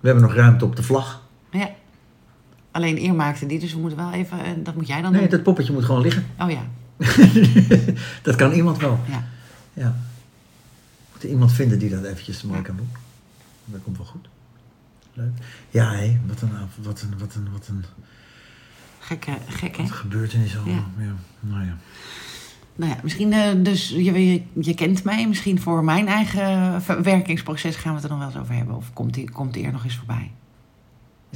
Speaker 1: We hebben nog ruimte op de vlag.
Speaker 2: ja. Alleen eer maakte die, dus we moeten wel even, eh, dat moet jij dan
Speaker 1: Nee,
Speaker 2: doen.
Speaker 1: dat poppetje moet gewoon liggen. *laughs*
Speaker 2: Oh ja,
Speaker 1: dat kan iemand wel.
Speaker 2: ja.
Speaker 1: Ja. We moeten iemand vinden die dat eventjes mooi kan doen. Dat komt wel goed. Leuk. Ja, hé, wat een, av- wat een, wat een, wat een
Speaker 2: Gek, hè? gek hè?
Speaker 1: gebeurtenis allemaal. Ja. Nou ja.
Speaker 2: Nou ja, misschien, eh, dus je, je, je kent mij, misschien voor mijn eigen verwerkingsproces gaan we het er dan wel eens over hebben. Of komt die, komt die eer nog eens voorbij?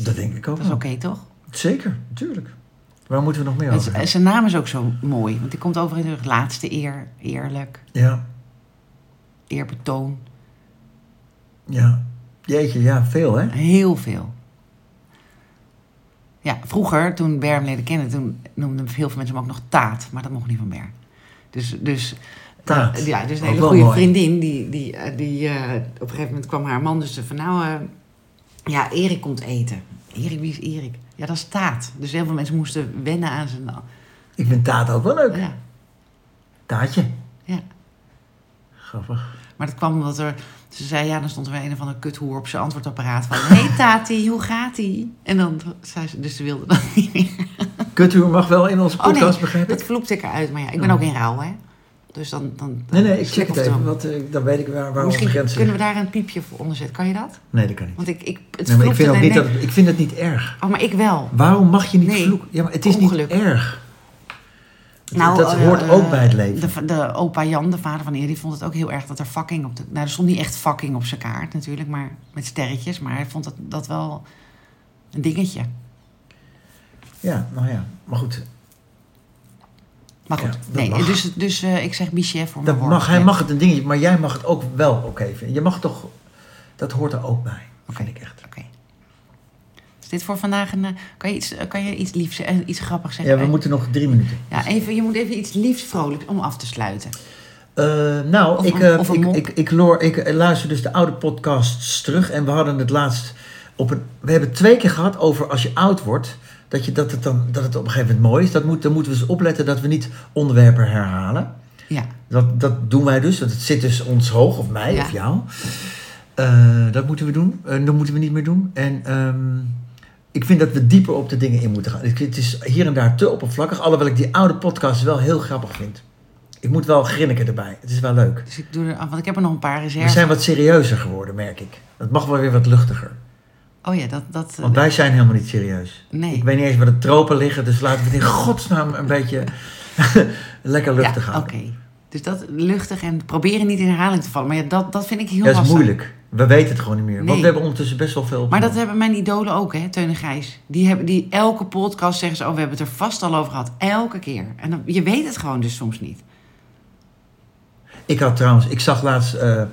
Speaker 1: Dat denk ik ook
Speaker 2: Dat is oké,
Speaker 1: wel.
Speaker 2: toch?
Speaker 1: Zeker, natuurlijk. Waar moeten we nog meer
Speaker 2: Het-
Speaker 1: over hebben?
Speaker 2: zijn naam is ook zo mooi, want die komt over in de laatste eer, eerlijk,
Speaker 1: Ja,
Speaker 2: eerbetoon.
Speaker 1: ja. Jeetje, ja, veel hè?
Speaker 2: Heel veel. Ja, vroeger, toen Ber hem leerde kennen, toen noemden heel veel mensen hem ook nog Taat. Maar dat mocht niet van Ber. Dus, dus,
Speaker 1: Taat.
Speaker 2: ja, dus een
Speaker 1: Ook
Speaker 2: hele
Speaker 1: wel
Speaker 2: goede
Speaker 1: mooi.
Speaker 2: vriendin. Die, die, eh, die, eh, op een gegeven moment kwam haar man dus ze van... Nou, eh, ja, Erik komt eten. Erik, wie is Erik? Ja, dat is Taat. Dus heel veel mensen moesten wennen aan zijn... eh,
Speaker 1: Ik vind Taat ook wel leuk.
Speaker 2: Ja,
Speaker 1: Taatje.
Speaker 2: ja.
Speaker 1: Grappig.
Speaker 2: Maar dat kwam omdat er... Ze zei, ja, dan stond er weer een of andere kuthoer op zijn antwoordapparaat van... hey, Tati, hoe gaat-ie? En dan zei ze... Dus ze wilde dat niet meer.
Speaker 1: Kutuur mag wel in onze
Speaker 2: Oh
Speaker 1: podcast,
Speaker 2: nee,
Speaker 1: begrijp
Speaker 2: dat
Speaker 1: ik?
Speaker 2: vloept ik eruit. Maar ja, ik ben ook in rouw, hè. Dus dan... dan, dan
Speaker 1: Nee, nee, ik check
Speaker 2: of
Speaker 1: het
Speaker 2: dan-
Speaker 1: even, want eh, dan weet ik waar, waar onze
Speaker 2: Misschien
Speaker 1: grenzen
Speaker 2: kunnen we
Speaker 1: liggen.
Speaker 2: daar een piepje voor onderzetten. Kan je dat?
Speaker 1: Nee, dat kan niet.
Speaker 2: Want ik... ik het
Speaker 1: Nee, maar ik
Speaker 2: vloept
Speaker 1: vind, ook
Speaker 2: en-
Speaker 1: niet
Speaker 2: nee.
Speaker 1: dat het- ik vind het niet erg.
Speaker 2: Oh, maar ik wel.
Speaker 1: Waarom mag je niet
Speaker 2: Nee.
Speaker 1: vloeken? Ja, maar het is
Speaker 2: Ongeluk.
Speaker 1: niet erg.
Speaker 2: Nou,
Speaker 1: dat
Speaker 2: eh,
Speaker 1: hoort
Speaker 2: eh,
Speaker 1: ook bij het leven.
Speaker 2: De, de opa Jan, de vader van Eer, die vond het ook heel erg dat er fucking op de... Nou, er stond niet echt fucking op zijn kaart natuurlijk, maar met sterretjes. Maar hij vond dat, dat wel een dingetje.
Speaker 1: Ja, nou ja, maar goed.
Speaker 2: Maar goed,
Speaker 1: Ja, dat
Speaker 2: nee,
Speaker 1: mag.
Speaker 2: dus, dus eh, ik zeg Michel voor
Speaker 1: Dat
Speaker 2: mijn
Speaker 1: mag,
Speaker 2: woord.
Speaker 1: hij
Speaker 2: Ja.
Speaker 1: mag het een dingetje, maar jij mag het ook wel oké vinden. Je mag toch, dat hoort er ook bij,
Speaker 2: Oké.
Speaker 1: vind ik echt.
Speaker 2: Oké. Is dit voor vandaag een... eh, Kan je iets, eh, kan je iets liefs en iets grappigs zeggen?
Speaker 1: Ja, we moeten nog drie minuten.
Speaker 2: Ja, even, je moet even iets liefs vrolijks om af te sluiten.
Speaker 1: Eh, nou,
Speaker 2: Of
Speaker 1: ik,
Speaker 2: een-
Speaker 1: eh,
Speaker 2: of een
Speaker 1: ik,
Speaker 2: mop.
Speaker 1: ik, ik, loor, ik eh, luister dus de oude podcasts terug. En we hadden het laatst op een. We hebben het twee keer gehad over als je oud wordt. Dat, je, dat, het, dan, dat het op een gegeven moment mooi is. Dat moet, dan moeten we eens opletten dat we niet onderwerpen herhalen.
Speaker 2: Ja,
Speaker 1: Dat, dat doen wij dus. Dat het zit dus ons hoog, of mij,
Speaker 2: Ja.
Speaker 1: of jou. Eh, dat moeten we doen. Eh, dat moeten we niet meer doen. En ehm, ik vind dat we dieper op de dingen in moeten gaan. Ik- Het is hier en daar te oppervlakkig. Alhoewel ik die oude podcast wel heel grappig vind. Ik moet wel grinniken erbij. Het is wel leuk.
Speaker 2: dus ik doe er af, want ik heb er nog een paar
Speaker 1: We
Speaker 2: reserves.
Speaker 1: zijn wat serieuzer geworden, merk ik. Dat mag wel weer wat luchtiger.
Speaker 2: Oh ja, dat... dat eh,
Speaker 1: Want wij zijn helemaal niet serieus.
Speaker 2: nee.
Speaker 1: Ik weet niet eens waar de tropen liggen. Dus laten we het in godsnaam een beetje *laughs* lekker luchtig
Speaker 2: ja,
Speaker 1: houden.
Speaker 2: oké. Dus dat luchtig en proberen niet in herhaling te vallen. Maar ja, dat, dat vind ik heel
Speaker 1: Ja, dat is
Speaker 2: lastig.
Speaker 1: moeilijk. We weten het gewoon niet meer. Want
Speaker 2: Nee.
Speaker 1: we hebben ondertussen best wel veel.
Speaker 2: Maar dat hebben mijn idolen ook, hè, Teun en Gijs. Die hebben die elke podcast zeggen ze, oh, we hebben het er vast al over gehad. Elke keer. En dan, je weet het gewoon dus soms niet.
Speaker 1: Ik had trouwens, ik zag laatst. eh, eh,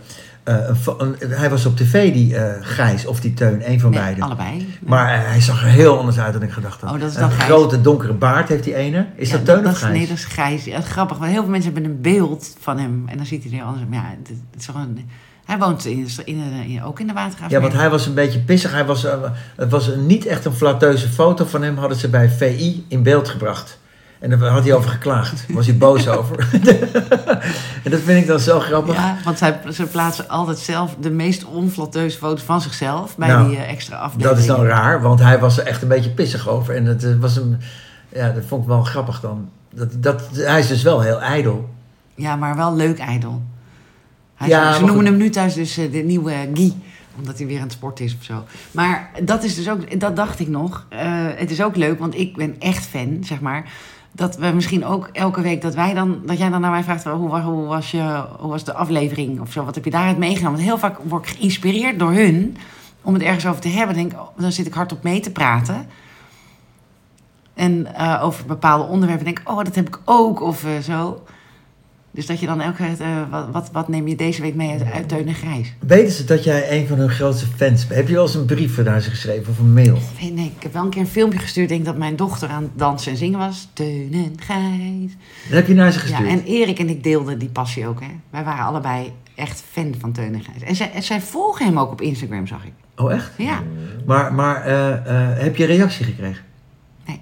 Speaker 1: een, fo- een- hij was op tv, die eh, Gijs of die Teun, een van
Speaker 2: Nee,
Speaker 1: beiden.
Speaker 2: allebei. Nee.
Speaker 1: Maar eh, hij zag er heel anders uit dan ik gedacht had.
Speaker 2: Oh, dat is
Speaker 1: een
Speaker 2: dan Gijs.
Speaker 1: grote donkere baard heeft die ene. Is
Speaker 2: Ja,
Speaker 1: dat Teun of
Speaker 2: is-
Speaker 1: Gijs?
Speaker 2: Nee, dat is Gijs. Ja, grappig, want heel veel mensen hebben een beeld van hem. En dan ziet hij er heel anders uit. Maar Ja, het, het is gewoon... Hij woont in, in, in- ook in de Watergraaf.
Speaker 1: Ja, want hij was een beetje pissig. Hij was, eh, het was een- niet echt een flatteuze foto van hem. Hadden ze bij VI in beeld gebracht. En daar had hij over geklaagd. Was hij boos *laughs* over. en dat vind ik dan zo grappig.
Speaker 2: Ja, want zij, ze plaatsen altijd zelf de meest onflatteuze foto's van zichzelf bij
Speaker 1: Nou,
Speaker 2: die eh, extra afdeling.
Speaker 1: Dat is dan raar, want hij was er echt een beetje pissig over. En dat eh, was hem, ja, dat vond ik wel grappig dan. Dat, dat, hij is dus wel heel ijdel.
Speaker 2: Ja, maar wel leuk ijdel. Hij
Speaker 1: Ja,
Speaker 2: is-
Speaker 1: maar
Speaker 2: ze
Speaker 1: goed.
Speaker 2: noemen hem nu thuis dus eh, de nieuwe Guy. Omdat hij weer aan het sporten is of zo. Maar dat is dus ook, dat dacht ik nog. Eh, het is ook leuk, want ik ben echt fan, zeg maar. Dat we misschien ook elke week dat wij dan, dat jij dan naar mij vraagt: hoe, wa- hoe, was, je, hoe was de aflevering of zo? Wat heb je daaruit meegenomen? Want heel vaak word ik geïnspireerd door hun om het ergens over te hebben. Denk, oh, dan zit ik hardop mee te praten. En eh, over bepaalde onderwerpen denk ik, oh, dat heb ik ook, of eh, zo. Dus dat je dan elke keer, eh, wat, wat, wat neem je deze week mee uit, uit Teun en Grijs?
Speaker 1: Weten ze dat jij een van hun grootste fans bent? Heb je wel eens een brief naar ze geschreven of een mail?
Speaker 2: Nee, nee, ik heb wel een keer een filmpje gestuurd, denk ik, dat mijn dochter aan het dansen en zingen was. Teun en Gijs.
Speaker 1: Dat heb je naar ze
Speaker 2: Ja,
Speaker 1: gestuurd.
Speaker 2: en Erik en ik deelden die passie ook, hè. Wij waren allebei echt fan van Teun en Gijs. En zij, en zij volgen hem ook op Instagram, zag ik.
Speaker 1: Oh, echt?
Speaker 2: Ja.
Speaker 1: Maar, maar eh, eh, heb je reactie gekregen?
Speaker 2: Nee.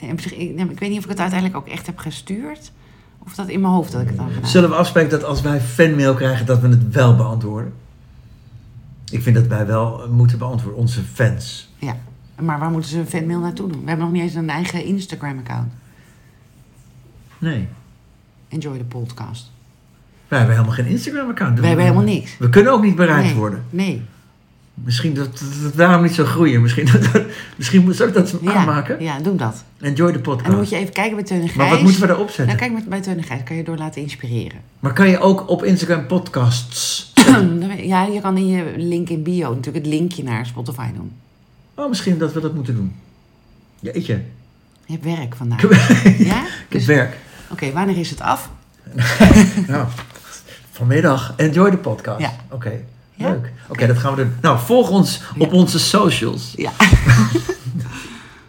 Speaker 2: Nee, en misschien- ik, nee, ik weet niet of ik het uiteindelijk ook echt heb gestuurd. Of dat in mijn hoofd dat ik het dan gedaan
Speaker 1: Zullen we afspreken dat als wij fanmail krijgen, dat we het wel beantwoorden? Ik vind dat wij wel moeten beantwoorden, onze fans.
Speaker 2: Ja. Maar waar moeten ze een fanmail naartoe doen? We hebben nog niet eens een eigen Instagram-account.
Speaker 1: Nee.
Speaker 2: Enjoy the podcast.
Speaker 1: Wij hebben helemaal geen Instagram-account.
Speaker 2: Wij hebben helemaal niks.
Speaker 1: We kunnen ook niet bereikt
Speaker 2: nee.
Speaker 1: worden.
Speaker 2: Nee.
Speaker 1: Misschien dat dat het daarom niet zo groeien. Misschien, dat, dat- misschien moet- zal ik dat eens
Speaker 2: Ja.
Speaker 1: aanmaken.
Speaker 2: Ja, doe dat.
Speaker 1: Enjoy de
Speaker 2: En
Speaker 1: podcast.
Speaker 2: dan moet je even kijken bij Teun en Gijs.
Speaker 1: Maar wat moeten we daarop
Speaker 2: Nou,
Speaker 1: zetten?
Speaker 2: kijk met, bij Teun en Gijs. Kan je door laten inspireren.
Speaker 1: Maar kan je ook op Instagram podcasts?
Speaker 2: *clears throat* ja, je kan in je link in bio natuurlijk het linkje naar Spotify doen.
Speaker 1: Oh, misschien dat we dat moeten doen. Jeetje.
Speaker 2: Je hebt werk
Speaker 1: *laughs* Ik
Speaker 2: vandaag.
Speaker 1: heb-
Speaker 2: Ja?
Speaker 1: ik heb
Speaker 2: Dus-
Speaker 1: *laughs* werk.
Speaker 2: Oké, wanneer is het af?
Speaker 1: Nou, vanmiddag. Enjoy de podcast.
Speaker 2: Ja.
Speaker 1: Oké,
Speaker 2: Ja?
Speaker 1: leuk. Oké, dat gaan we doen. Nou, volg ons op onze socials.
Speaker 2: Ja.